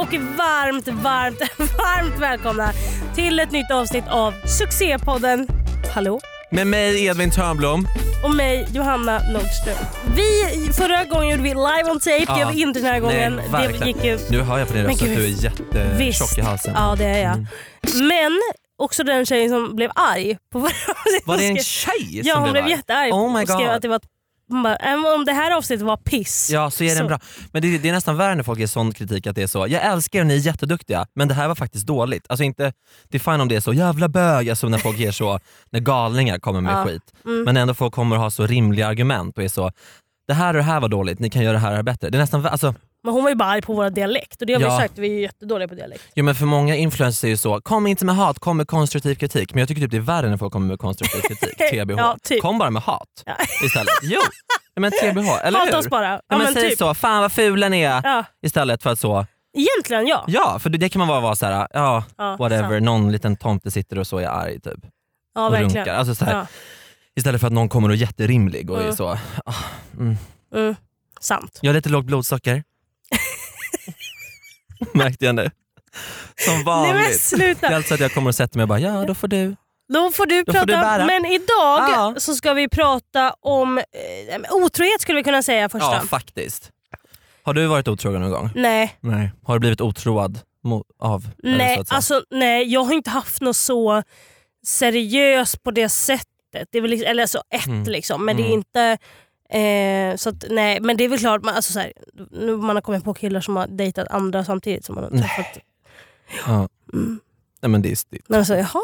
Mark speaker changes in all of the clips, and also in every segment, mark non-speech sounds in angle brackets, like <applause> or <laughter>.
Speaker 1: och varmt, varmt, <laughs> varmt välkomna till ett nytt avsnitt av succépodden Hallå?
Speaker 2: Med mig Edvin Törnblom.
Speaker 1: Och mig Johanna Nordström. Vi, förra gången gjorde vi live on tape, det gör vi inte den här gången.
Speaker 2: Nej,
Speaker 1: det
Speaker 2: verkligen.
Speaker 1: gick ju
Speaker 2: Nu hör jag på din
Speaker 1: Men
Speaker 2: röst att
Speaker 1: gud,
Speaker 2: du är jättetjock i halsen.
Speaker 1: Ja det är jag.
Speaker 2: Mm.
Speaker 1: Men också den tjejen som blev arg på våra <laughs> avsnitt.
Speaker 2: Var det en
Speaker 1: Hon skrev-
Speaker 2: tjej
Speaker 1: Ja
Speaker 2: som
Speaker 1: hon blev
Speaker 2: arg?
Speaker 1: jättearg
Speaker 2: Oh my
Speaker 1: och skrev
Speaker 2: God.
Speaker 1: att det var ett- hon bara, "Även om det här avsnittet var piss.
Speaker 2: Ja, så är
Speaker 1: Så-
Speaker 2: den bra. Men det, det är nästan värre när folk ger sån kritik att det är så. Jag älskar er, ni är jätteduktiga, men det här var faktiskt dåligt. Alltså inte, det är fine om det är så, jävla bög, alltså när folk ger så, när galningar kommer med
Speaker 1: Ja,
Speaker 2: skit.
Speaker 1: mm.
Speaker 2: Men ändå folk kommer och har så rimliga argument och är så, det här och det här var dåligt, ni kan göra det här och det här bättre. Det är nästan, vä- alltså,
Speaker 1: Men hon var ju bara arg på våra dialekt och det har vi
Speaker 2: Ja.
Speaker 1: sagt, vi är ju jättedåliga på dialekt.
Speaker 2: jo, men för många influencers är ju så, kom inte med hat, kom med konstruktiv kritik. Men jag tycker typ det är värre när folk kommer med konstruktiv
Speaker 1: <laughs>
Speaker 2: kritik, TBH.
Speaker 1: Ja, typ.
Speaker 2: Kom bara med hat istället. Jo,
Speaker 1: <laughs>
Speaker 2: men TBH, eller hur?
Speaker 1: Hata oss bara. Ja,
Speaker 2: Ja, men
Speaker 1: men
Speaker 2: säg
Speaker 1: typ.
Speaker 2: så, fan vad fula ni är
Speaker 1: Ja.
Speaker 2: istället för att så,
Speaker 1: Egentligen ja.
Speaker 2: Ja, för det kan man bara vara så här, ja,
Speaker 1: Ja,
Speaker 2: whatever,
Speaker 1: sant.
Speaker 2: någon liten tomte sitter och så är arg typ.
Speaker 1: Ja,
Speaker 2: och
Speaker 1: verkligen.
Speaker 2: runkar. Alltså, så här,
Speaker 1: Ja.
Speaker 2: Istället för att någon kommer och är jätterimlig och är
Speaker 1: Mm.
Speaker 2: så,
Speaker 1: Mm. Sant.
Speaker 2: jag har lite lågt
Speaker 1: <laughs>
Speaker 2: blodsocker. Märkte jag nu. Som
Speaker 1: Nej men
Speaker 2: vanligt. Det är
Speaker 1: sluta.
Speaker 2: alltså att jag kommer och sätter mig och bara, ja då får du.
Speaker 1: Då får du
Speaker 2: Då får
Speaker 1: prata.
Speaker 2: du bära.
Speaker 1: men idag
Speaker 2: Ja.
Speaker 1: så ska vi prata om eh, otrohet skulle vi kunna säga första.
Speaker 2: Ja faktiskt. Har du varit otrogen någon gång?
Speaker 1: Nej,
Speaker 2: Nej. Har du blivit otroad mo- av? eller så
Speaker 1: nej,
Speaker 2: att säga?
Speaker 1: alltså, nej, jag har inte haft något så seriöst på det sättet. Det är väl liksom, eller alltså ett
Speaker 2: Mm.
Speaker 1: liksom, men det är
Speaker 2: Mm.
Speaker 1: inte... Eh, så att, nej, men det är väl klart, man, alltså, så här, nu, man har kommit på killar som har dejtat andra samtidigt som man har
Speaker 2: Nej.
Speaker 1: träffat.
Speaker 2: ja.
Speaker 1: Mm.
Speaker 2: Nej, men det är styrt.
Speaker 1: Men alltså, jaha,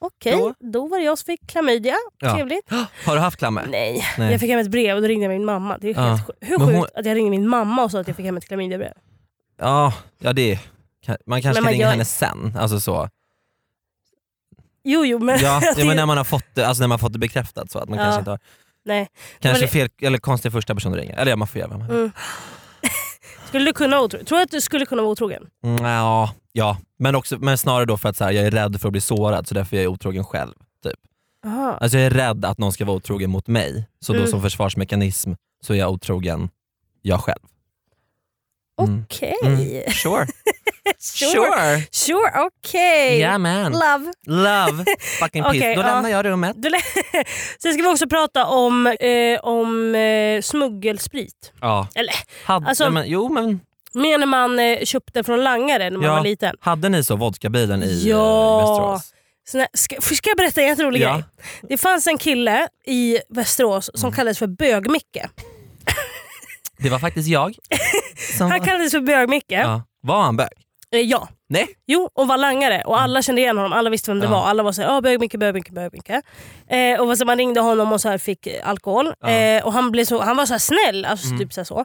Speaker 1: okej,
Speaker 2: Då?
Speaker 1: då var det jag som fick klamydia.
Speaker 2: Ja.
Speaker 1: Trevligt.
Speaker 2: Har du haft klammer?
Speaker 1: Nej.
Speaker 2: Nej.
Speaker 1: jag fick hem ett brev och då ringde jag min mamma. Det är
Speaker 2: Ja.
Speaker 1: helt, sjukt. hur
Speaker 2: Men
Speaker 1: sjukt
Speaker 2: hon-
Speaker 1: att jag ringde min mamma och sa att jag fick hem ett klamydiabrev.
Speaker 2: Ja, ja det är, man kanske
Speaker 1: Men
Speaker 2: ska
Speaker 1: man
Speaker 2: ringa
Speaker 1: gör-
Speaker 2: henne sen. Alltså så.
Speaker 1: Jo, jo, <laughs> men...
Speaker 2: Ja,
Speaker 1: det-
Speaker 2: ja men när man har fått det, alltså när man har fått det bekräftat så att man
Speaker 1: Ja.
Speaker 2: kanske inte har,
Speaker 1: Nej.
Speaker 2: kanske
Speaker 1: Men
Speaker 2: fel, eller konstig första person du ringer. Eller ja, man får göra vad man vill.
Speaker 1: Mm. <laughs> Skulle du kunna vara otrogen? Tror du att du skulle kunna vara otrogen?
Speaker 2: Mm, ja, ja. Men, också, men snarare då för att så här, jag är rädd för att bli sårad så därför är jag otrogen själv. Typ.
Speaker 1: Aha.
Speaker 2: Alltså jag är rädd att någon ska vara otrogen mot mig, så då
Speaker 1: Mm.
Speaker 2: som försvarsmekanism så är jag otrogen jag själv. Mm.
Speaker 1: Okej.
Speaker 2: Mm. Sure,
Speaker 1: <laughs> Sure. Sure, okej.
Speaker 2: Yeah man.
Speaker 1: Love.
Speaker 2: Love fucking peace.
Speaker 1: Okej,
Speaker 2: då
Speaker 1: ja.
Speaker 2: lämnar jag rummet.
Speaker 1: Du lä- <laughs> Sen ska vi också prata om, eh, om eh, smuggelsprit.
Speaker 2: Ja.
Speaker 1: Eller,
Speaker 2: Hade,
Speaker 1: alltså-
Speaker 2: men, jo men
Speaker 1: Mer när man eh, köpte från langare när man
Speaker 2: Ja.
Speaker 1: var liten.
Speaker 2: hade ni så vodkabilen i
Speaker 1: Ja.
Speaker 2: ja. Västerås?
Speaker 1: Sån här, ska, f- ska jag berätta en jätterolig
Speaker 2: Ja.
Speaker 1: grej? Det fanns en kille i Västerås som kallades för Bög-Micke.
Speaker 2: Det var
Speaker 1: <laughs>
Speaker 2: faktiskt jag. Som,
Speaker 1: Han kallades för Bög-Micke. Ja.
Speaker 2: ja. Var han bög?
Speaker 1: Eh, ja.
Speaker 2: Nej.
Speaker 1: Jo, och var langare. Och alla kände igen honom, alla visste vem det
Speaker 2: Ja.
Speaker 1: var. Alla var såhär, ah, Bög-Micke, Bög-Micke, Bög-Micke. Eh, och så man ringde honom och så här fick eh, alkohol.
Speaker 2: Ja. Mm.
Speaker 1: Eh, och han, blev så, han var så här snäll, alltså typ så. Här så.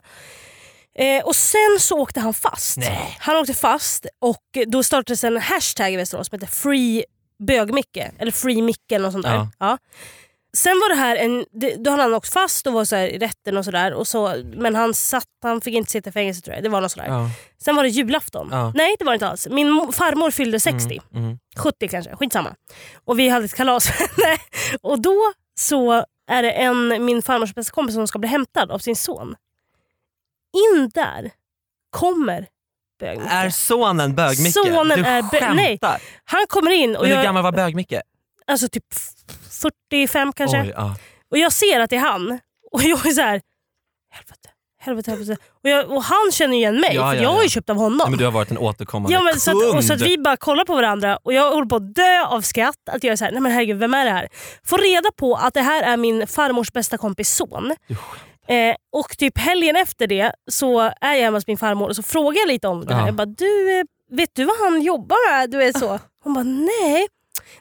Speaker 1: Eh, och sen så åkte han fast.
Speaker 2: Nej.
Speaker 1: Han åkte fast och då startades en hashtag i Västerås som hette Free Bög-Micke. Eller Free Micke eller något sånt där.
Speaker 2: Ja.
Speaker 1: Ja. Sen var det här en, det- då hade han åkt fast och var så här i rätten och sådär. Så, men han, satt, han fick inte sitta i fängelse tror jag. Det var något sådär.
Speaker 2: Ja.
Speaker 1: Sen var det julafton.
Speaker 2: Ja.
Speaker 1: Nej det var det inte alls. Min mo- farmor fyllde 60.
Speaker 2: Mm.
Speaker 1: 70 kanske, skitsamma. Och vi hade ett kalas <laughs> Och då så är det en, min farmors bästa kompis som ska bli hämtad av sin son. In där kommer bög
Speaker 2: Mm. Är sonen bög-Micke?
Speaker 1: Sonen
Speaker 2: du
Speaker 1: är bö-
Speaker 2: skämtar.
Speaker 1: nej. Han kommer in och
Speaker 2: Men hur
Speaker 1: jag,
Speaker 2: gammal var bög-Micke?
Speaker 1: alltså typ f- 45 kanske.
Speaker 2: Oj, ja.
Speaker 1: Och jag ser att det är han. <laughs> Och jag är så här, helvete, helvete, helvete. Och, jag, och han känner ju igen mig
Speaker 2: Ja,
Speaker 1: för
Speaker 2: ja,
Speaker 1: jag har ju
Speaker 2: ja.
Speaker 1: köpt av honom.
Speaker 2: Nej, men du har varit en återkommande
Speaker 1: Ja, men så att,
Speaker 2: kund.
Speaker 1: och så att vi bara kollar på varandra och jag håller på att dö av skratt. Att jag är såhär, nej men herregud vem är det här? Får reda på att det här är min farmors bästa kompis son.
Speaker 2: Du skämtar.
Speaker 1: Eh, och typ helgen efter det så är jag hemma hos min farmor och så frågar jag lite om det här.
Speaker 2: Ja. Ah.
Speaker 1: Jag bara, du, eh, vet du vad han jobbar med? Du är så. Hon bara, nej.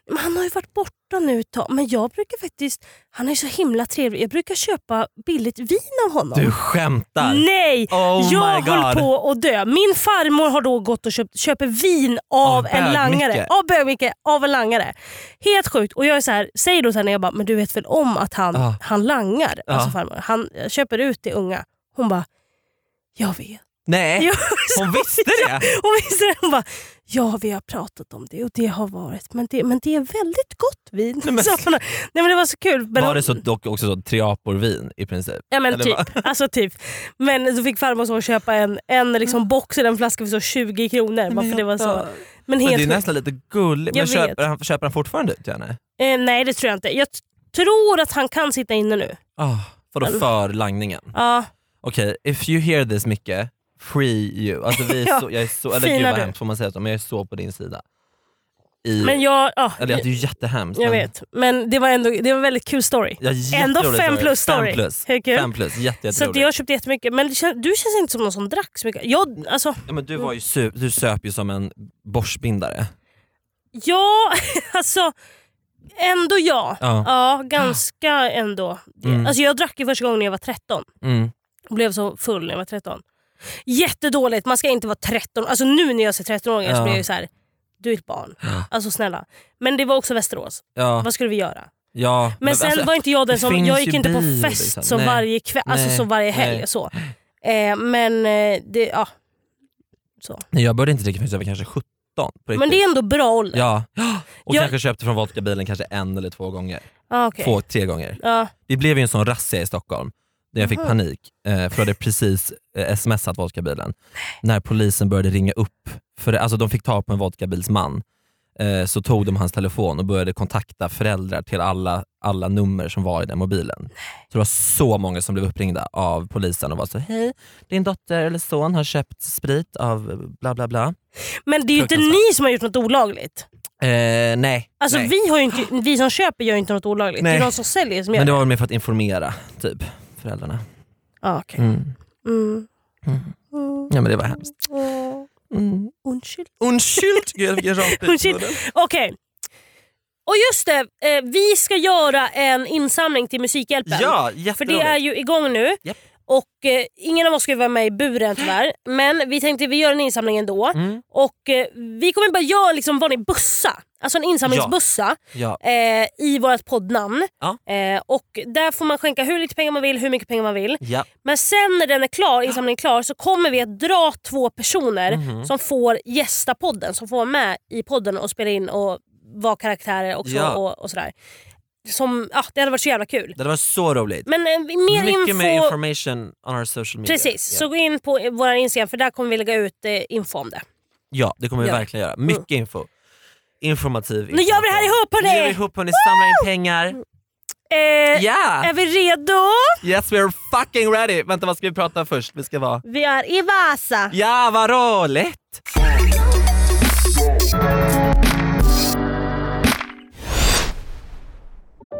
Speaker 1: Men han har ju varit borta nu ett tag. Men jag brukar faktiskt, han är så himla trevlig. Jag brukar köpa billigt vin av honom.
Speaker 2: Du skämtar?
Speaker 1: Nej!
Speaker 2: Oh
Speaker 1: Mm. jag
Speaker 2: my god.
Speaker 1: höll på att dö. Min farmor har då gått och köpt, köper vin av
Speaker 2: Av
Speaker 1: en langare.
Speaker 2: bög-Micke.
Speaker 1: Av bög-Micke, av en langare. Helt sjukt. Och jag är så här, säger då till henne, jag bara, men du vet väl om att han,
Speaker 2: Ja.
Speaker 1: han langar?
Speaker 2: Ja.
Speaker 1: Alltså farmor, han köper ut till unga. Hon bara, jag vet. <laughs>
Speaker 2: Nej.
Speaker 1: Jag,
Speaker 2: Hon visste det?
Speaker 1: hon visste det. Hon bara, ja vi har pratat om det och det har varit, men det, men det är väldigt gott vin.
Speaker 2: Nej, men-
Speaker 1: Så man- Nej, men det var så kul. Men,
Speaker 2: Var det så, dock också så triaporvin i princip?
Speaker 1: Ja men
Speaker 2: Eller
Speaker 1: typ.
Speaker 2: <laughs>
Speaker 1: Alltså, typ. Men då fick farmor så köpa en, en
Speaker 2: Mm.
Speaker 1: liksom box i den flaskan för så 20 kronor. Bara för det var så. Men
Speaker 2: Men det
Speaker 1: helt
Speaker 2: är nästan lite gulligt. Men
Speaker 1: Jag
Speaker 2: köper
Speaker 1: vet.
Speaker 2: han, köper han fortfarande ut henne?
Speaker 1: eh, Nej det tror jag inte. Jag t- tror att han kan sitta inne nu.
Speaker 2: Oh, vadå
Speaker 1: Eller-
Speaker 2: för langningen?
Speaker 1: Ja,
Speaker 2: Okej, if you hear this Micke, free you. Alltså vi
Speaker 1: <laughs>
Speaker 2: är
Speaker 1: Ja,
Speaker 2: så, jag är så, eller
Speaker 1: fina
Speaker 2: gud vad
Speaker 1: du.
Speaker 2: hemskt får man säga så, men jag är så på din sida. I,
Speaker 1: men jag, ja,
Speaker 2: eller det är ju jättehemskt.
Speaker 1: jag
Speaker 2: men-
Speaker 1: vet. Men det var ändå det var en väldigt kul story.
Speaker 2: Ja,
Speaker 1: Ändå
Speaker 2: jätterolig
Speaker 1: fem plus
Speaker 2: Fem
Speaker 1: story.
Speaker 2: plus.
Speaker 1: Hur kul?
Speaker 2: Fem plus, jätte,
Speaker 1: Så att
Speaker 2: jätteroligt.
Speaker 1: jag köpte jättemycket. Men det kän- du känns inte som någon som drack så mycket. Jag, alltså,
Speaker 2: Ja, men du, var ju su- du söp ju som en borstbindare.
Speaker 1: ja, <laughs> alltså ändå ja.
Speaker 2: Ja.
Speaker 1: Ja, ganska ändå.
Speaker 2: Mm.
Speaker 1: Alltså, jag drack ju första gången när jag var 13.
Speaker 2: Mm.
Speaker 1: och blev så full när jag var 13. Jättedåligt, man ska inte vara 13. Alltså nu när jag ser 13-åringar
Speaker 2: Ja.
Speaker 1: så blir jag ju så här. du är ett barn. Alltså snälla. Men det var också Västerås.
Speaker 2: Ja,
Speaker 1: Vad skulle vi göra?
Speaker 2: ja.
Speaker 1: Men sen
Speaker 2: alltså,
Speaker 1: var inte jag den
Speaker 2: det
Speaker 1: som,
Speaker 2: finns
Speaker 1: jag gick
Speaker 2: ju
Speaker 1: inte på
Speaker 2: bil,
Speaker 1: fest
Speaker 2: liksom.
Speaker 1: så
Speaker 2: Nej.
Speaker 1: varje kväll, alltså
Speaker 2: Nej.
Speaker 1: så varje helg.
Speaker 2: Nej.
Speaker 1: Så. Eh, men eh, det, ja. Så.
Speaker 2: Nej, jag började inte dricka förrän jag var kanske 17. På
Speaker 1: Men det är ändå bra ålder. <gasps>
Speaker 2: Ja, och
Speaker 1: Jag-
Speaker 2: kanske köpte från vodkabilen kanske en eller två gånger.
Speaker 1: Ja. Ah, okej.
Speaker 2: Två, tre gånger.
Speaker 1: Ja.
Speaker 2: Vi blev ju en sån razzia i Stockholm där jag fick
Speaker 1: Aha.
Speaker 2: panik eh, för jag hade precis eh, smsat vodkabilen. När polisen började ringa upp, för det, alltså de fick tag på en vodkabilsman, eh, så tog de hans telefon och började kontakta föräldrar till alla, alla nummer som var i den mobilen. Så det var så många som blev uppringda av polisen och var så hej, din dotter eller son har köpt sprit av bla bla bla.
Speaker 1: Men det är ju inte
Speaker 2: Fruktansvärt.
Speaker 1: ni som har gjort något olagligt.
Speaker 2: Eh, nej.
Speaker 1: Alltså
Speaker 2: nej.
Speaker 1: vi, har ju inte, vi som köper gör ju inte något olagligt. Det
Speaker 2: Nej.
Speaker 1: är de som säljer som gör
Speaker 2: Men
Speaker 1: det.
Speaker 2: det var väl mer för att informera typ föräldrarna.
Speaker 1: Ja, Ah, okej.
Speaker 2: Mm.
Speaker 1: Mm.
Speaker 2: Mm.
Speaker 1: Mm.
Speaker 2: Ja men det var hemskt.
Speaker 1: Åh.
Speaker 2: Mm.
Speaker 1: Undskyld. <laughs>
Speaker 2: Undskyld! Gud, jag fick en rak bit.
Speaker 1: Undskyld. Okej. Och just det, eh, vi ska göra en insamling till Musikhjälpen.
Speaker 2: Ja,
Speaker 1: för det är
Speaker 2: jätteroligt.
Speaker 1: ju igång nu.
Speaker 2: Japp.
Speaker 1: Och eh, Ingen av oss ska ju vara med i buren tyvärr. Men vi tänkte vi gör en insamling ändå.
Speaker 2: Mm.
Speaker 1: Och eh, Vi kommer bara göra liksom en vanlig bussa. Alltså en insamlingsbussa
Speaker 2: Ja.
Speaker 1: eh, i vårt poddnamn.
Speaker 2: Ja.
Speaker 1: Eh, och där får man skänka hur lite pengar man vill, hur mycket pengar man vill.
Speaker 2: Ja.
Speaker 1: Men sen när den är klar, insamlingen är klar så kommer vi att dra två personer
Speaker 2: Mhm.
Speaker 1: som får gästa podden, som får vara med i podden och spela in och vara karaktärer också
Speaker 2: Ja.
Speaker 1: och, och sådär. Som, ja, det hade varit så jävla kul.
Speaker 2: Det var så roligt.
Speaker 1: Men eh, mer
Speaker 2: Mycket
Speaker 1: info...
Speaker 2: mer information on our social media.
Speaker 1: precis,
Speaker 2: Ja,
Speaker 1: så gå in på eh, vår Instagram för där kommer vi lägga ut eh, info om det.
Speaker 2: ja det kommer vi
Speaker 1: Ja. Mm.
Speaker 2: verkligen göra. Mycket info. Informativ
Speaker 1: Nu gör vi det här ihop
Speaker 2: Nu gör vi
Speaker 1: hörni!
Speaker 2: ihop hörni, samlar in pengar.
Speaker 1: Eh,
Speaker 2: Yeah!
Speaker 1: Är vi redo?
Speaker 2: Yes we're fucking ready! Vänta vad ska vi prata först? Vi ska vara...
Speaker 1: Vi är i Vasa.
Speaker 2: Ja vad roligt!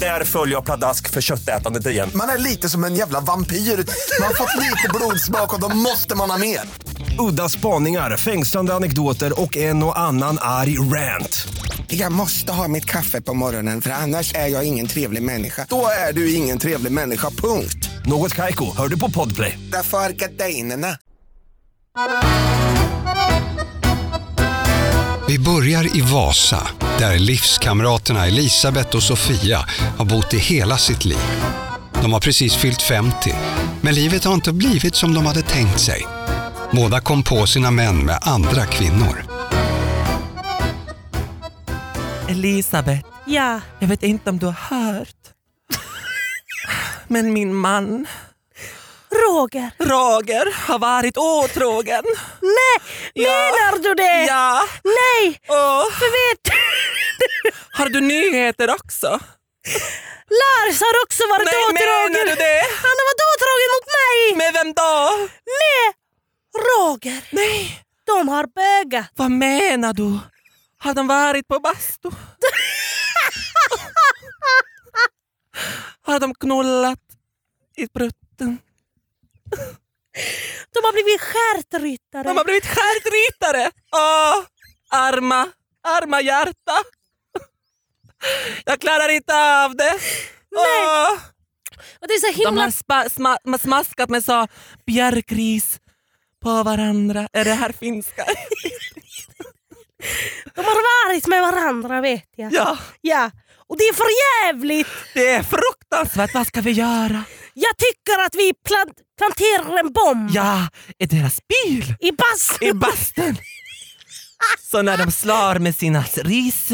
Speaker 3: Där följer jag pladask för köttätandet igen.
Speaker 4: Man är lite som en jävla vampyr. Man har fått lite blodsmak och då måste man ha mer.
Speaker 3: Udda spaningar, fängslande anekdoter och en och annan arg rant.
Speaker 4: Jag måste ha mitt kaffe på morgonen för annars är jag ingen trevlig människa. Då är du ingen trevlig människa, punkt.
Speaker 3: Något Kaiko, hör du på Podplay.
Speaker 4: Därför är gardinerna.
Speaker 5: Vi börjar i Vasa, där livskamraterna Elisabeth och Sofia har bott i hela sitt liv. De har precis fyllt 50, men livet har inte blivit som de hade tänkt sig. Båda kom på sina män med andra kvinnor.
Speaker 2: Elisabeth,
Speaker 1: Ja.
Speaker 2: jag vet inte om du har hört. Men min man
Speaker 1: Roger,
Speaker 2: Roger har varit otrogen.
Speaker 1: menar du det?
Speaker 2: Ja,
Speaker 1: Nej,
Speaker 2: och
Speaker 1: för vet
Speaker 2: har du nyheter också?
Speaker 1: Lars har också varit
Speaker 2: Nej, menar du
Speaker 1: åtrågen.
Speaker 2: det?
Speaker 1: Han har varit åtrågen mot mig.
Speaker 2: Med vem då?
Speaker 1: Med Roger.
Speaker 2: Nej,
Speaker 1: De har bögat.
Speaker 2: vad menar du? Har de varit på bastu? har de knullat i brutten?
Speaker 1: De har blivit stjärtryttare.
Speaker 2: De har blivit stjärtryttare! Åh, arma Arma hjärta! Jag klarar inte av det! Åh.
Speaker 1: Och det är så
Speaker 2: De
Speaker 1: himla...
Speaker 2: har spa, sma, ma- smaskat med så björkris på varandra. Är det här
Speaker 1: <laughs>
Speaker 2: finska?
Speaker 1: De har varit med varandra vet jag.
Speaker 2: Ja,
Speaker 1: Ja. Och det är för jävligt.
Speaker 2: det är fruktansvärt. Vad ska vi göra?
Speaker 1: Jag tycker att vi plan- planterar en bomb
Speaker 2: Ja, i deras bil,
Speaker 1: i bastun.
Speaker 2: i bastun. Så när de slår med sina ris,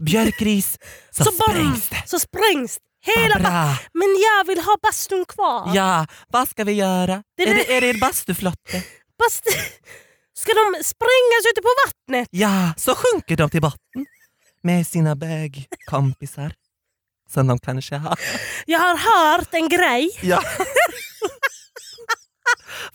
Speaker 2: björkris, så,
Speaker 1: så bara-
Speaker 2: sprängs det.
Speaker 1: Så sprängs hela
Speaker 2: Bra.
Speaker 1: ba- Men jag vill ha bastun kvar.
Speaker 2: Ja, vad ska vi göra?
Speaker 1: Det blir-
Speaker 2: är, det, är det er bastuflotte?
Speaker 1: Bast- <laughs> Ska de sprängas ute på vattnet?
Speaker 2: Ja, så sjunker de till botten med sina bögkompisar som de kanske har.
Speaker 1: Jag har hört en grej.
Speaker 2: Ja.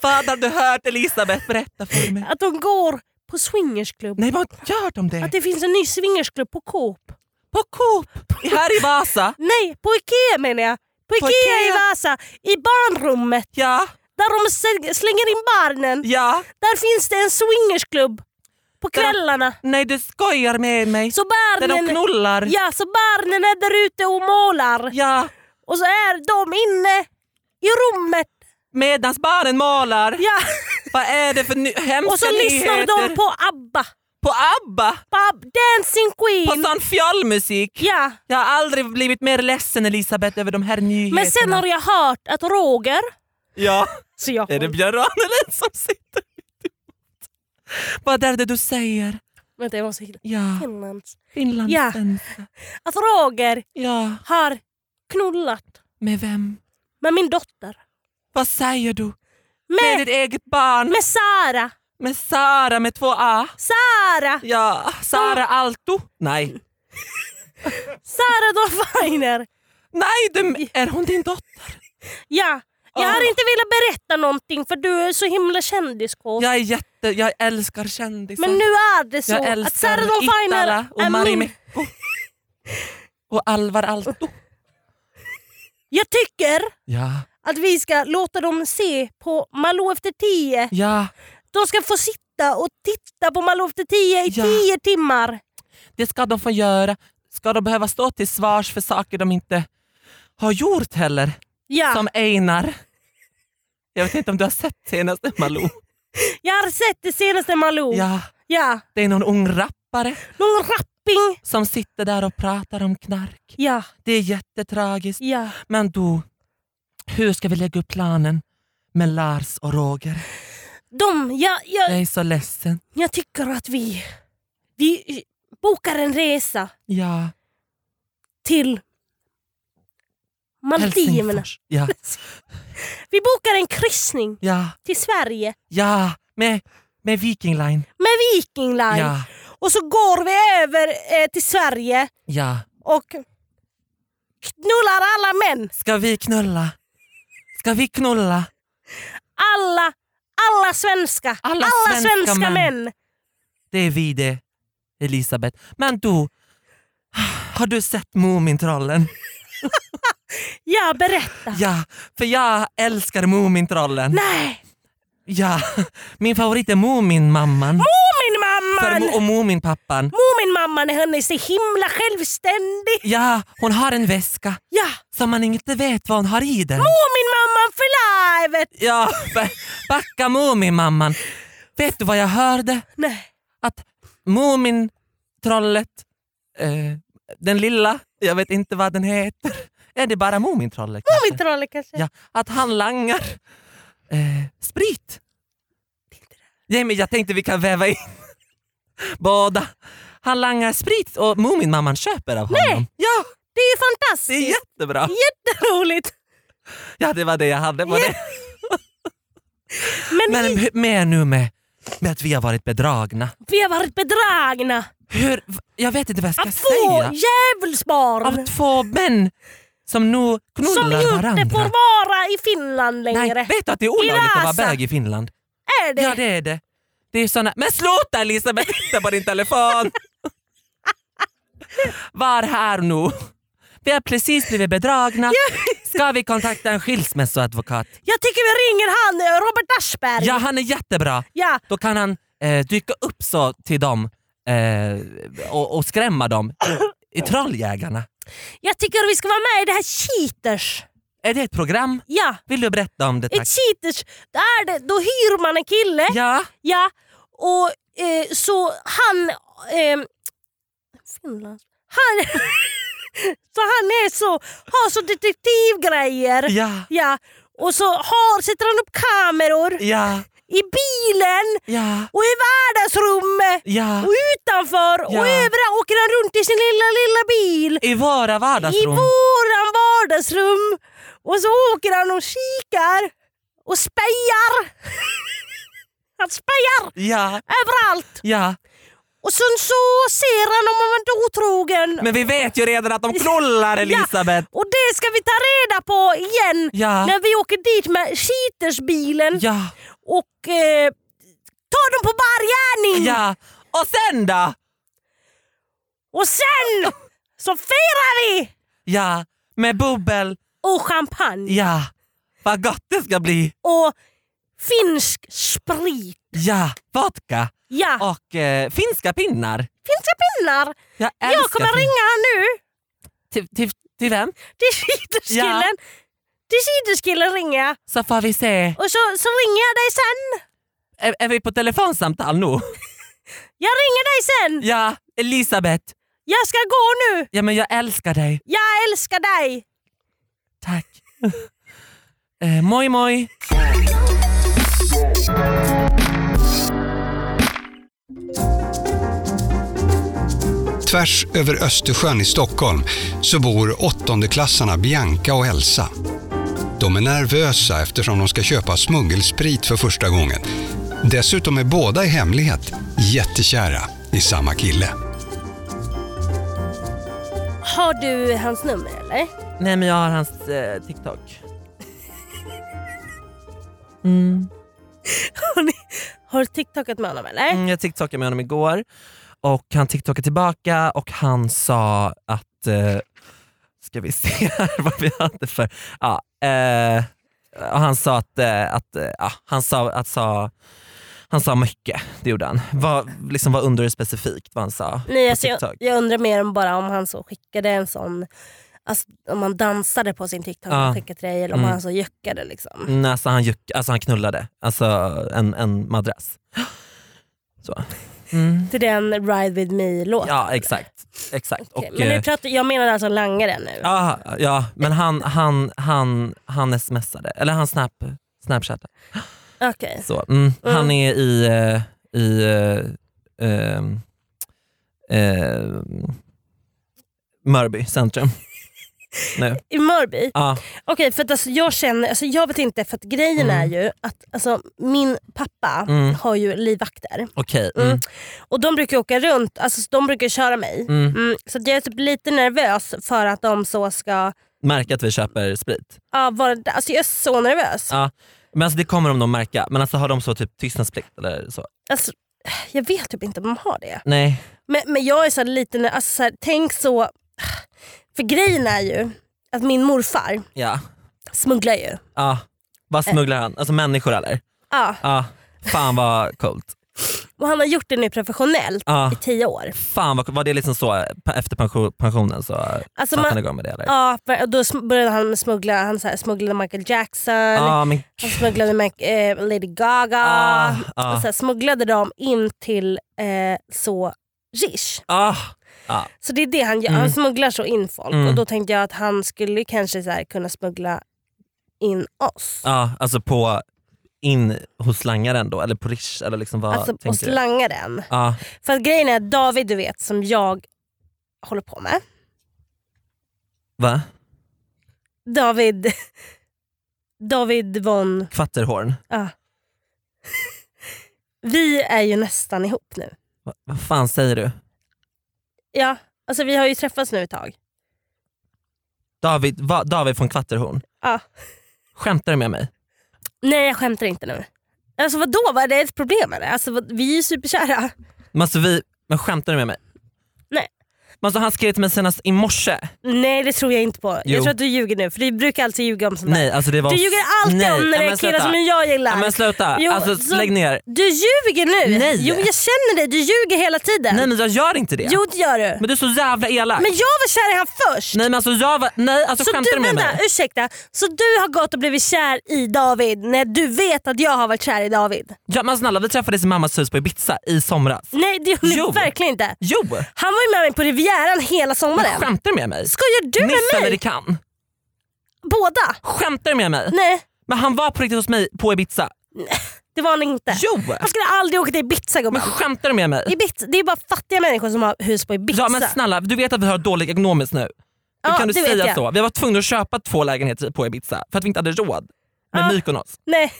Speaker 2: Vad har du hört Elisabeth berätta för mig?
Speaker 1: Att de går på swingersklubb.
Speaker 2: Nej, vad gör de det?
Speaker 1: Att det finns en ny swingersklubb på Coop.
Speaker 2: På Coop! Här i Vasa.
Speaker 1: Nej, på Ikea menar jag. På Ikea,
Speaker 2: På
Speaker 1: i
Speaker 2: Ikea.
Speaker 1: Vasa. I barnrummet.
Speaker 2: Ja,
Speaker 1: Där de sl- slänger in barnen.
Speaker 2: ja.
Speaker 1: Där finns det en swingersklubb. På
Speaker 2: Där de-
Speaker 1: kvällarna.
Speaker 2: Nej, du skojar med mig.
Speaker 1: Så
Speaker 2: Där de
Speaker 1: barnen,
Speaker 2: knullar.
Speaker 1: ja, så barnen är där ute och målar.
Speaker 2: ja.
Speaker 1: Och så är de inne i rummet.
Speaker 2: Medans barnen målar. <laughs>
Speaker 1: Ja.
Speaker 2: Vad är det för ny- hemska
Speaker 1: Och så lyssnar
Speaker 2: nyheter?
Speaker 1: de på ABBA.
Speaker 2: på ABBA.
Speaker 1: På Ab- Dancing
Speaker 2: På
Speaker 1: Queen.
Speaker 2: sån fjollmusik.
Speaker 1: Ja.
Speaker 2: Jag har aldrig blivit mer ledsen Elisabeth över de här nyheterna.
Speaker 1: Men sen
Speaker 2: <laughs>
Speaker 1: har jag hört att Roger...
Speaker 2: Ja.
Speaker 1: Så jag,
Speaker 2: Är det Björn Ranelid som sitter mitt emot? Vad är det du säger?
Speaker 1: vänta, jag måste hitta.
Speaker 2: Ja,
Speaker 1: Finlands. Ja.
Speaker 2: finlandssvenska.
Speaker 1: Att Roger
Speaker 2: Ja,
Speaker 1: har knullat
Speaker 2: med vem?
Speaker 1: med min dotter.
Speaker 2: Vad säger du? Med
Speaker 1: Med,
Speaker 2: ditt eget barn?
Speaker 1: med Sara.
Speaker 2: Med Sara med två A?
Speaker 1: Sara!
Speaker 2: Ja, Sara Alto? Nej.
Speaker 1: Sara Dolphiner.
Speaker 2: Nej, du, är hon din dotter?
Speaker 1: Ja. Jag har
Speaker 2: Ah.
Speaker 1: inte velat berätta någonting för du är så himla kändiskåt.
Speaker 2: Jag är jätte... Jag älskar kändisar.
Speaker 1: Men nu är det så
Speaker 2: jag
Speaker 1: att Sara
Speaker 2: älskar
Speaker 1: Dolphiner
Speaker 2: Itala
Speaker 1: är
Speaker 2: och Mari
Speaker 1: min...
Speaker 2: Mekko. <laughs> Och Alvar Aalto.
Speaker 1: Jag tycker
Speaker 2: Ja,
Speaker 1: att vi ska låta dem se på Malou efter tio.
Speaker 2: ja.
Speaker 1: De ska få sitta och titta på Malou efter tio i
Speaker 2: Ja.
Speaker 1: tio timmar.
Speaker 2: Det ska de få göra. Ska de behöva stå till svars för saker de inte har gjort heller?
Speaker 1: Ja.
Speaker 2: Som Einar. Jag vet inte om du har sett senaste Malou?
Speaker 1: Jag har sett det senaste Malou. Ja.
Speaker 2: Ja, det är någon ung rappare
Speaker 1: Någon rapping.
Speaker 2: som sitter där och pratar om knark.
Speaker 1: Ja.
Speaker 2: Det är jättetragiskt.
Speaker 1: ja.
Speaker 2: Men du, hur ska vi lägga upp planen med Lars och Roger?
Speaker 1: De, jag, jag,
Speaker 2: Jag är så ledsen.
Speaker 1: jag tycker att vi, vi bokar en resa
Speaker 2: Ja,
Speaker 1: till Maldiverna.
Speaker 2: Helsingfors. Ja,
Speaker 1: Vi bokar en kryssning
Speaker 2: ja,
Speaker 1: till Sverige
Speaker 2: ja. Med, med Viking Line.
Speaker 1: med Viking Line.
Speaker 2: Ja,
Speaker 1: Och så går vi över eh, till Sverige
Speaker 2: ja.
Speaker 1: och knullar alla män.
Speaker 2: Ska vi knulla? Ska vi knulla?
Speaker 1: Alla, alla svenska.
Speaker 2: Alla svenska
Speaker 1: svenska, män.
Speaker 2: män. Det är vi det, Elisabeth. Men du, har du sett Mumintrollen?
Speaker 1: Ja, berätta.
Speaker 2: Ja, för jag älskar Mumintrollen.
Speaker 1: Nej,
Speaker 2: Ja, min favorit är Muminmamman. För
Speaker 1: Muminmamman!
Speaker 2: mo- Och Muminpappan.
Speaker 1: Muminmamman är hon är så himla självständig.
Speaker 2: Ja, hon har en väska
Speaker 1: Ja,
Speaker 2: som man inte vet vad hon har i den.
Speaker 1: Muminmamman för livet!
Speaker 2: Ja, ba- backa Muminmamman. Vet du vad jag hörde?
Speaker 1: Nej.
Speaker 2: att Mumintrollet, eh, den lilla, jag vet inte vad den heter. Är det bara Mumintrollet? kanske?
Speaker 1: Mumintrollet kanske?
Speaker 2: Ja, att han langar eh, sprit. Nej, men jag tänkte vi kan väva in <laughs> båda. Han langar sprit och Muminmamman köper av honom. Nej. Ja,
Speaker 1: Det är ju
Speaker 2: det är
Speaker 1: fantastiskt!
Speaker 2: jättebra.
Speaker 1: Jätteroligt!
Speaker 2: Ja, det var det jag hade på det.
Speaker 1: Men,
Speaker 2: Men
Speaker 1: vi,
Speaker 2: hur- mer nu med, med att vi har varit bedragna.
Speaker 1: vi har varit bedragna.
Speaker 2: Hur, jag vet inte vad jag ska
Speaker 1: Att få
Speaker 2: säga. av
Speaker 1: djävulsbarn
Speaker 2: två män som nu knullar
Speaker 1: som inte
Speaker 2: varandra.
Speaker 1: får vara i Finland
Speaker 2: Nej,
Speaker 1: längre.
Speaker 2: vet du att det är olagligt att vara
Speaker 1: Vasa.
Speaker 2: bög i Finland?
Speaker 1: Är det?
Speaker 2: Ja det är det. Det är såna... Men sluta Elisabeth, titta på
Speaker 1: <laughs>
Speaker 2: din telefon! Var här nu. Vi har precis blivit bedragna. Ska vi kontakta en skilsmässoadvokat?
Speaker 1: Jag tycker vi ringer han eh, Robert Aschberg.
Speaker 2: Ja, han är jättebra.
Speaker 1: Ja.
Speaker 2: Då kan han eh, dyka upp så till dem eh, och, och skrämma dem i Trolljägarna.
Speaker 1: Jag tycker vi ska vara med i det här Cheaters.
Speaker 2: Är det ett program?
Speaker 1: Ja,
Speaker 2: Vill du berätta om det? Tack.
Speaker 1: ett Cheaters. Där det, då hyr man en kille.
Speaker 2: Ja.
Speaker 1: Ja, och eh, så han... Eh, Finland. Han... <laughs> så han är så, har så detektivgrejer.
Speaker 2: Ja.
Speaker 1: Ja, och så har, sätter han upp kameror
Speaker 2: Ja.
Speaker 1: i bilen
Speaker 2: Ja.
Speaker 1: och i vardagsrummet
Speaker 2: Ja.
Speaker 1: och utanför och
Speaker 2: Ja.
Speaker 1: överallt åker han runt i sin lilla, lilla bil.
Speaker 2: I våra
Speaker 1: I
Speaker 2: vardagsrum.
Speaker 1: våran vardagsrum. Och så åker han och kikar och spejar. <laughs> han spejar
Speaker 2: Ja.
Speaker 1: överallt.
Speaker 2: Ja.
Speaker 1: Och sen så ser han om han varit otrogen.
Speaker 2: Men vi vet ju redan att de knullar Elisabeth.
Speaker 1: Och det ska vi ta reda på igen
Speaker 2: Ja.
Speaker 1: när vi åker dit med Cheaters-bilen
Speaker 2: Ja.
Speaker 1: och eh, tar dem på bar gärning.
Speaker 2: Ja. Och sen då?
Speaker 1: Och sen så firar vi!
Speaker 2: Ja. Med bubbel.
Speaker 1: Och champagne.
Speaker 2: Ja. Vad gott det ska bli.
Speaker 1: Och finsk sprit.
Speaker 2: Ja. Vodka.
Speaker 1: Ja,
Speaker 2: Och eh, finska pinnar.
Speaker 1: finska pinnar.
Speaker 2: Jag älskar
Speaker 1: Jag kommer
Speaker 2: fin-
Speaker 1: ringa han nu.
Speaker 2: Till, till, till vem?
Speaker 1: Till Cheaters-killen. Till Cheaters-killen ringer jag.
Speaker 2: Så får vi se.
Speaker 1: Och så, så ringer jag dig sen.
Speaker 2: Är, är vi på telefonsamtal nu?
Speaker 1: <laughs> Jag ringer dig sen.
Speaker 2: Ja. Elisabeth.
Speaker 1: Jag ska gå nu.
Speaker 2: Ja men jag älskar dig.
Speaker 1: Jag älskar dig.
Speaker 2: Tack. <laughs> eh, moi moi.
Speaker 5: Tvärs över Östersjön i Stockholm så bor åttondeklassarna Bianca och Elsa. De är nervösa eftersom de ska köpa smuggelsprit för första gången. Dessutom är båda i hemlighet jättekära i samma kille.
Speaker 1: Har du hans nummer
Speaker 2: <laughs>
Speaker 1: eller?
Speaker 2: Nej men jag har hans eh, TikTok.
Speaker 1: Har, ni, har du tiktokat med honom eller?
Speaker 2: Mm, jag TikTokade med honom igår och han TikTokade tillbaka och han sa att, eh, ska vi se här vad vi hade för, ja, eh, och han sa att, eh, att eh, ja, han sa, att sa, han sa mycket, det gjorde han. Var, liksom var under specifikt vad han sa
Speaker 1: Nej,
Speaker 2: på
Speaker 1: alltså jag,
Speaker 2: TikTok.
Speaker 1: jag undrar mer om bara om han så skickade en sån, alltså, om han dansade på sin TikTok
Speaker 2: Ja.
Speaker 1: och skickade till dig eller om
Speaker 2: Mm.
Speaker 1: han så juckade liksom.
Speaker 2: Nej, alltså, han, juck, alltså han knullade, alltså en, en madrass. Så. Mm.
Speaker 1: Till den Ride With Me-låten.
Speaker 2: Ja exakt. exakt.
Speaker 1: Okej,
Speaker 2: Och,
Speaker 1: men
Speaker 2: eh,
Speaker 1: nu pratar, jag menar alltså langare nu.
Speaker 2: Ja, ja men han, han, han, han smsade, eller han snap, snapchattade.
Speaker 1: Okej.
Speaker 2: Så, mm. Han är i, eh, i eh, ehm, ehm, Mörby centrum. nu.
Speaker 1: I Mörby?
Speaker 2: Ja,
Speaker 1: Okej, för att alltså, jag känner, alltså, jag vet inte för att grejen är ju att alltså, min pappa
Speaker 2: Mm.
Speaker 1: har ju livvakter.
Speaker 2: okej. Mm.
Speaker 1: Och de brukar åka runt, alltså de brukar köra mig.
Speaker 2: Mm.
Speaker 1: Mm, så att jag är typ lite nervös för att de så ska
Speaker 2: Märk att vi köper sprit.
Speaker 1: ja, vara där. Alltså jag är så nervös.
Speaker 2: Ja. Men alltså det kommer de nog märka. Men alltså har de så typ tystnadsplikt eller så?
Speaker 1: Alltså, jag vet typ inte om de har det.
Speaker 2: Nej.
Speaker 1: Men, men jag är så här lite nervös, alltså, så här, tänk så... För grejen är ju att min morfar
Speaker 2: Ja.
Speaker 1: smugglar ju.
Speaker 2: ja. Vad smugglar han? Alltså människor eller?
Speaker 1: Ja,
Speaker 2: Ja. Fan vad coolt.
Speaker 1: och han har gjort det nu professionellt
Speaker 2: Ja.
Speaker 1: i tio år.
Speaker 2: Fan vad, var det liksom så eh, pe- efter pension, pensionen så alltså
Speaker 1: Alltså,
Speaker 2: satte
Speaker 1: man-
Speaker 2: han igång med det eller?
Speaker 1: Ja, för- och då sm- började han med smuggla, han så här, smugglade Michael Jackson,
Speaker 2: ah, men
Speaker 1: han smugglade med, eh, Lady Gaga.
Speaker 2: Ah, ah.
Speaker 1: Och så här, smugglade dem in till eh, så Rish.
Speaker 2: ah,
Speaker 1: Så det är det han gör, han smugglar så in folk.
Speaker 2: Mm.
Speaker 1: Och då tänkte jag att han skulle kanske så här, kunna smuggla in oss.
Speaker 2: ah, alltså på in hos slangaren då eller på Rish eller liksom vad
Speaker 1: Alltså och
Speaker 2: tänker du?
Speaker 1: slanga den.
Speaker 2: Ah,
Speaker 1: För att grejen är att David du vet som jag håller på med.
Speaker 2: va?
Speaker 1: David <laughs> David von...
Speaker 2: Kvatterhorn?
Speaker 1: ja. Vi är ju nästan ihop nu.
Speaker 2: Va, vad fan säger du?
Speaker 1: Ja, alltså vi har ju träffats nu ett tag.
Speaker 2: David, va, David från Kvatterhorn?
Speaker 1: Ja.
Speaker 2: Skämtar du med mig?
Speaker 1: Nej jag skämtar inte nu. Alltså vadå, vad är det ett problem eller? Alltså, vad- vi är ju superkära.
Speaker 2: Men, alltså, vi, men skämtar du med mig?
Speaker 1: Nej.
Speaker 2: Men alltså, han skrev till mig senast i morse.
Speaker 1: Nej det tror jag inte på.
Speaker 2: Jo.
Speaker 1: Jag tror att du ljuger nu för du brukar alltid ljuga om sånt där.
Speaker 2: Nej, alltså det var...
Speaker 1: Du ljuger alltid
Speaker 2: Nej,
Speaker 1: om när det
Speaker 2: men
Speaker 1: är killar
Speaker 2: sluta.
Speaker 1: som jag gillar.
Speaker 2: Ja, men sluta,
Speaker 1: Jo,
Speaker 2: alltså,
Speaker 1: så-
Speaker 2: lägg ner.
Speaker 1: Du ljuger nu!
Speaker 2: Nej.
Speaker 1: Jo men jag känner dig, du ljuger hela tiden.
Speaker 2: Nej men jag gör inte det.
Speaker 1: Jo det gör du.
Speaker 2: Men du är så jävla elak.
Speaker 1: Men jag var kär i han först!
Speaker 2: Nej men alltså jag var... Nej alltså
Speaker 1: så
Speaker 2: skämtar
Speaker 1: du,
Speaker 2: du med mig?
Speaker 1: ursäkta, så du har gått och blivit kär i David när du vet att jag har varit kär i David?
Speaker 2: Ja, men snälla vi träffades i mammas hus på Ibiza i somras.
Speaker 1: Nej det gjorde
Speaker 2: Jo.
Speaker 1: ni verkligen inte.
Speaker 2: Jo!
Speaker 1: Han var ju med mig på Rivieran hela sommaren.
Speaker 2: Skämtar du med mig?
Speaker 1: Skojar du
Speaker 2: Nisse
Speaker 1: med
Speaker 2: eller
Speaker 1: mig?
Speaker 2: Rikan?
Speaker 1: Båda?
Speaker 2: Skämtar du med mig?
Speaker 1: Nej
Speaker 2: Men han var på riktigt hos mig på Ibiza.
Speaker 1: det var han inte.
Speaker 2: Jo!
Speaker 1: Jag skulle aldrig åka till Ibiza
Speaker 2: Men
Speaker 1: gumman.
Speaker 2: skämtar du med mig?
Speaker 1: Ibiza, det är bara fattiga människor som har hus på Ibiza.
Speaker 2: Ja men snälla, du vet att vi har dålig ekonomiskt nu. Hur
Speaker 1: Ja,
Speaker 2: kan du
Speaker 1: det vet
Speaker 2: säga
Speaker 1: jag.
Speaker 2: så? Vi var tvungna att köpa två lägenheter på Ibiza för att vi inte hade råd med
Speaker 1: Ja.
Speaker 2: Mykonos.
Speaker 1: Nej.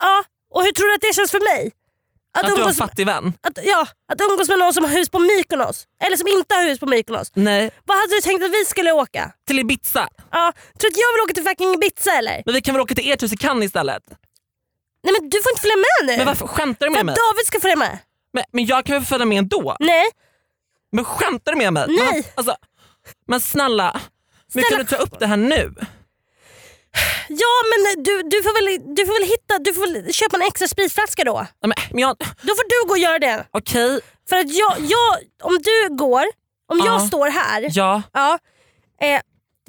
Speaker 1: Ja, och hur tror du att det känns för mig? Att,
Speaker 2: Att du har en
Speaker 1: umgås,
Speaker 2: fattig vän?
Speaker 1: att, ja, att umgås med någon som har hus på Mykonos. Eller som inte har hus på Mykonos.
Speaker 2: Nej.
Speaker 1: Vad hade du tänkt att vi skulle åka?
Speaker 2: Till Ibiza?
Speaker 1: Ja, tror du att jag vill åka till fucking Ibiza eller?
Speaker 2: Men vi kan väl åka till ert hus i Cannes istället?
Speaker 1: Nej men du får inte följa med nu.
Speaker 2: Men varför skämtar du
Speaker 1: Eh, För
Speaker 2: med
Speaker 1: att
Speaker 2: mig?
Speaker 1: David ska följa med.
Speaker 2: Men, men jag kan väl följa med ändå?
Speaker 1: Nej,
Speaker 2: Men skämtar du med mig? Men,
Speaker 1: Nej.
Speaker 2: alltså, men snälla, men kan
Speaker 1: Snälla.
Speaker 2: du ta upp det här nu?
Speaker 1: ja men du, du, får väl, du får väl hitta, du får väl köpa en extra spritflaska då.
Speaker 2: Ja, Men, men jag,
Speaker 1: Då får du gå och göra det.
Speaker 2: okej,
Speaker 1: För att jag, jag om du går, om jag
Speaker 2: Ja.
Speaker 1: står här.
Speaker 2: ja,
Speaker 1: Ja. Eh,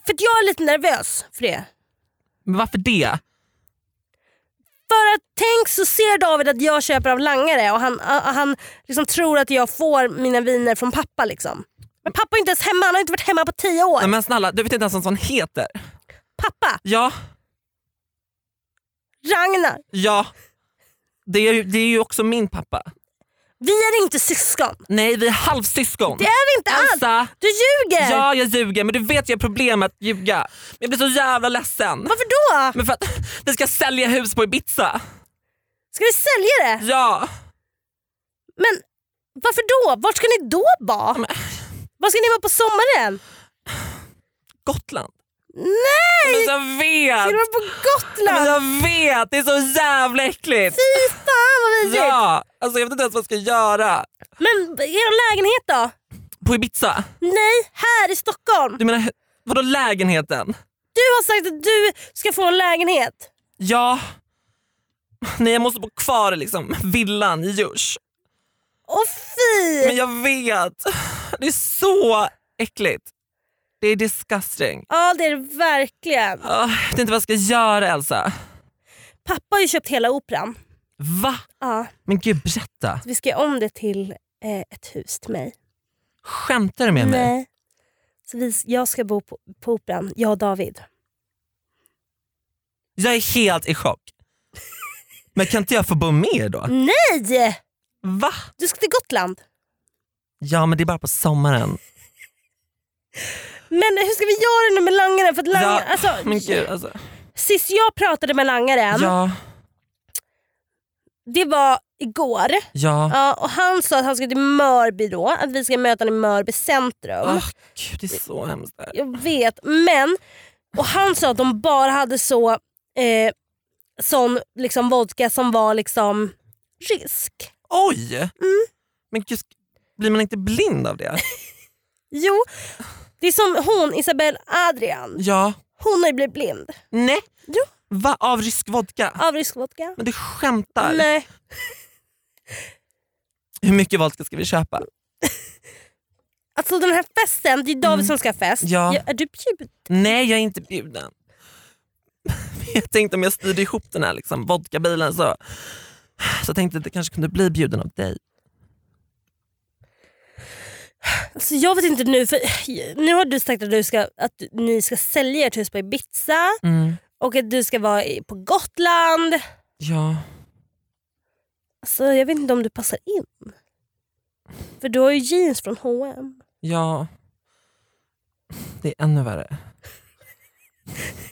Speaker 1: för att jag är lite nervös för det.
Speaker 2: men varför det?
Speaker 1: För att tänk så ser David att jag köper av langare och han, a- a- han liksom tror att jag får mina viner från pappa. Liksom. Men pappa är inte ens hemma, han har inte varit hemma på tio år.
Speaker 2: Nej, men snälla, du vet inte ens vad en sån heter.
Speaker 1: Pappa,
Speaker 2: Ja,
Speaker 1: Ragnar,
Speaker 2: ja. Det är, ju- det är ju också min pappa.
Speaker 1: vi är inte syskon.
Speaker 2: Nej, vi är halvsyskon.
Speaker 1: Det är vi inte alls.
Speaker 2: Elsa,
Speaker 1: Du ljuger!
Speaker 2: ja jag ljuger men du vet jag har problem med att ljuga. Men jag blir så jävla ledsen.
Speaker 1: Varför då?
Speaker 2: Men för att vi ska sälja hus på Ibiza.
Speaker 1: Ska ni sälja det?
Speaker 2: Ja.
Speaker 1: Men varför då? Vart ska ni då vara?
Speaker 2: Men-
Speaker 1: Var ska ni vara på sommaren?
Speaker 2: Gotland.
Speaker 1: Nej!
Speaker 2: Men jag vet!
Speaker 1: Ska ni vara på
Speaker 2: Men
Speaker 1: Gotland?
Speaker 2: jag vet! Det är så jävla äckligt!
Speaker 1: Fy fan vad mysigt!
Speaker 2: Ja! Alltså jag vet inte ens vad jag ska göra.
Speaker 1: Men er lägenhet då?
Speaker 2: På Ibiza?
Speaker 1: Nej, här i Stockholm.
Speaker 2: Du menar vadå lägenheten?
Speaker 1: Du har sagt att du ska få en lägenhet.
Speaker 2: Ja. Nej jag måste bo kvar i liksom villan i Djurs.
Speaker 1: Åh fy!
Speaker 2: Men jag vet. Det är så äckligt. Det är disgusting.
Speaker 1: Ja det är det verkligen.
Speaker 2: Ah, Jag vet inte vad jag ska göra Elsa.
Speaker 1: Pappa har ju köpt hela operan.
Speaker 2: Va?
Speaker 1: Ja,
Speaker 2: Men gud berätta.
Speaker 1: vi ska göra om det till eh, ett hus till mig.
Speaker 2: Skämtar du med mig?
Speaker 1: Nej. Så vi, jag ska bo på, på operan, jag och David.
Speaker 2: Jag är helt i chock. Men kan inte jag få bo med er då?
Speaker 1: Nej!
Speaker 2: Va?
Speaker 1: Du ska till Gotland.
Speaker 2: Ja men det är bara på sommaren.
Speaker 1: Men hur ska vi göra nu med langaren? För att lang...
Speaker 2: Ja,
Speaker 1: alltså,
Speaker 2: men gud alltså.
Speaker 1: Sist jag pratade med langaren,
Speaker 2: Ja,
Speaker 1: det var igår.
Speaker 2: ja.
Speaker 1: Ja, och Han sa att han ska till Mörby då, att vi ska möta honom i Mörby centrum.
Speaker 2: Åh gud det är så hemskt där.
Speaker 1: Jag vet, men... Och han sa att de bara hade så eh, sån liksom vodka som var liksom risk.
Speaker 2: Oj! Men gud, blir man inte blind av <laughs> det?
Speaker 1: Jo, det är som hon, Isabel Adrian.
Speaker 2: Ja.
Speaker 1: Hon har ju blivit blind
Speaker 2: Nej.
Speaker 1: Jo.
Speaker 2: Va? Av rysk vodka?
Speaker 1: av rysk vodka.
Speaker 2: Ah. Men du skämtar?
Speaker 1: Nej,
Speaker 2: Hur mycket vodka ska vi köpa?
Speaker 1: alltså den här festen, det är David som ska ha fest.
Speaker 2: Mm. Ja.
Speaker 1: är du bjuden?
Speaker 2: Nej, jag är inte bjuden. <laughs> Jag tänkte om jag styrde ihop den här liksom, vodkabilen så, så tänkte jag att det kanske kunde bli bjuden av dig.
Speaker 1: Alltså, jag vet inte nu, för nu har du sagt att, du ska, att ni ska sälja ert hus på Ibiza
Speaker 2: Mm.
Speaker 1: och att du ska vara i- på Gotland.
Speaker 2: Ja.
Speaker 1: Alltså, jag vet inte om du passar in. För du har ju jeans från H&M.
Speaker 2: Ja. Det är ännu värre.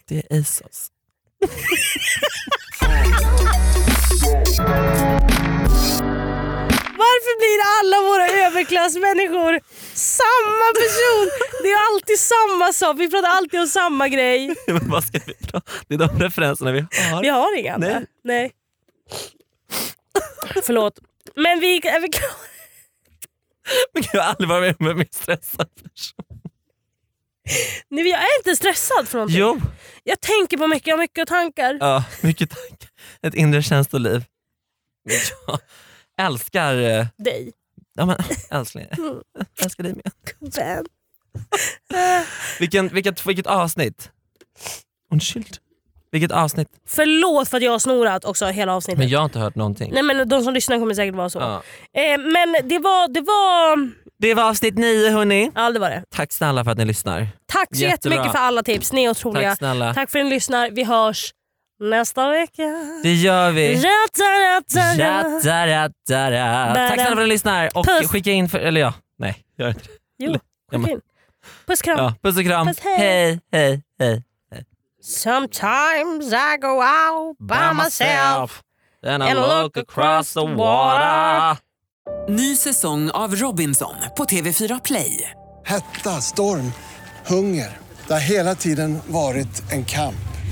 Speaker 2: Det är Asos. <laughs>
Speaker 1: Varför blir alla våra överklassmänniskor samma person? Det är alltid samma sak. Vi pratar alltid om samma grej.
Speaker 2: Men vad ska vi då? Det är de referenserna vi har.
Speaker 1: Vi har inga andra.
Speaker 2: Nej.
Speaker 1: Nej. Förlåt. Men vi är vi klara?
Speaker 2: Men gud, jag har aldrig varit med om en mer stressad person.
Speaker 1: Nej, men jag är inte stressad för någonting.
Speaker 2: Jo,
Speaker 1: Jag tänker på mycket, jag har mycket tankar.
Speaker 2: ja, mycket tankar. Ett inre känsloliv. Jag älskar... eh,
Speaker 1: Dig.
Speaker 2: Ja, men, älskling, jag älskar dig med.
Speaker 1: Vän.
Speaker 2: Vilken, vilket, vilket avsnitt. Undskyld. Vilket avsnitt.
Speaker 1: Förlåt för att jag har snorat också hela avsnittet.
Speaker 2: Men jag har inte hört någonting.
Speaker 1: Nej men de som lyssnar kommer säkert vara så.
Speaker 2: Ja.
Speaker 1: Eh, men det var, det var...
Speaker 2: Det var avsnitt nio hörni.
Speaker 1: Ja det var det.
Speaker 2: Tack snälla för att ni lyssnar.
Speaker 1: Tack så
Speaker 2: Jättebra.
Speaker 1: jättemycket för alla tips, ni är otroliga.
Speaker 2: Tack snälla.
Speaker 1: Tack för att ni lyssnar, vi hörs nästa vecka.
Speaker 2: Det gör vi. Ja,
Speaker 1: Ra-ta-ra-ta-ra.
Speaker 2: da, da, da, da. Tack snälla för att ni lyssnar. Och
Speaker 1: Puss.
Speaker 2: skicka in... För, eller ja, nej. Gör inte det.
Speaker 1: Jo,
Speaker 2: Ja, men-
Speaker 1: skicka in. Puss kram.
Speaker 2: Ja, puss och kram.
Speaker 1: Puss, hej.
Speaker 2: hej, hej. hej.
Speaker 1: Sometimes I go out by myself.
Speaker 2: And I
Speaker 1: And
Speaker 2: look,
Speaker 1: look
Speaker 2: across the
Speaker 1: across the
Speaker 2: water.
Speaker 6: Ny säsong av Robinson på TV4 Play.
Speaker 7: Hetta, storm, hunger. Det har hela tiden varit en kamp.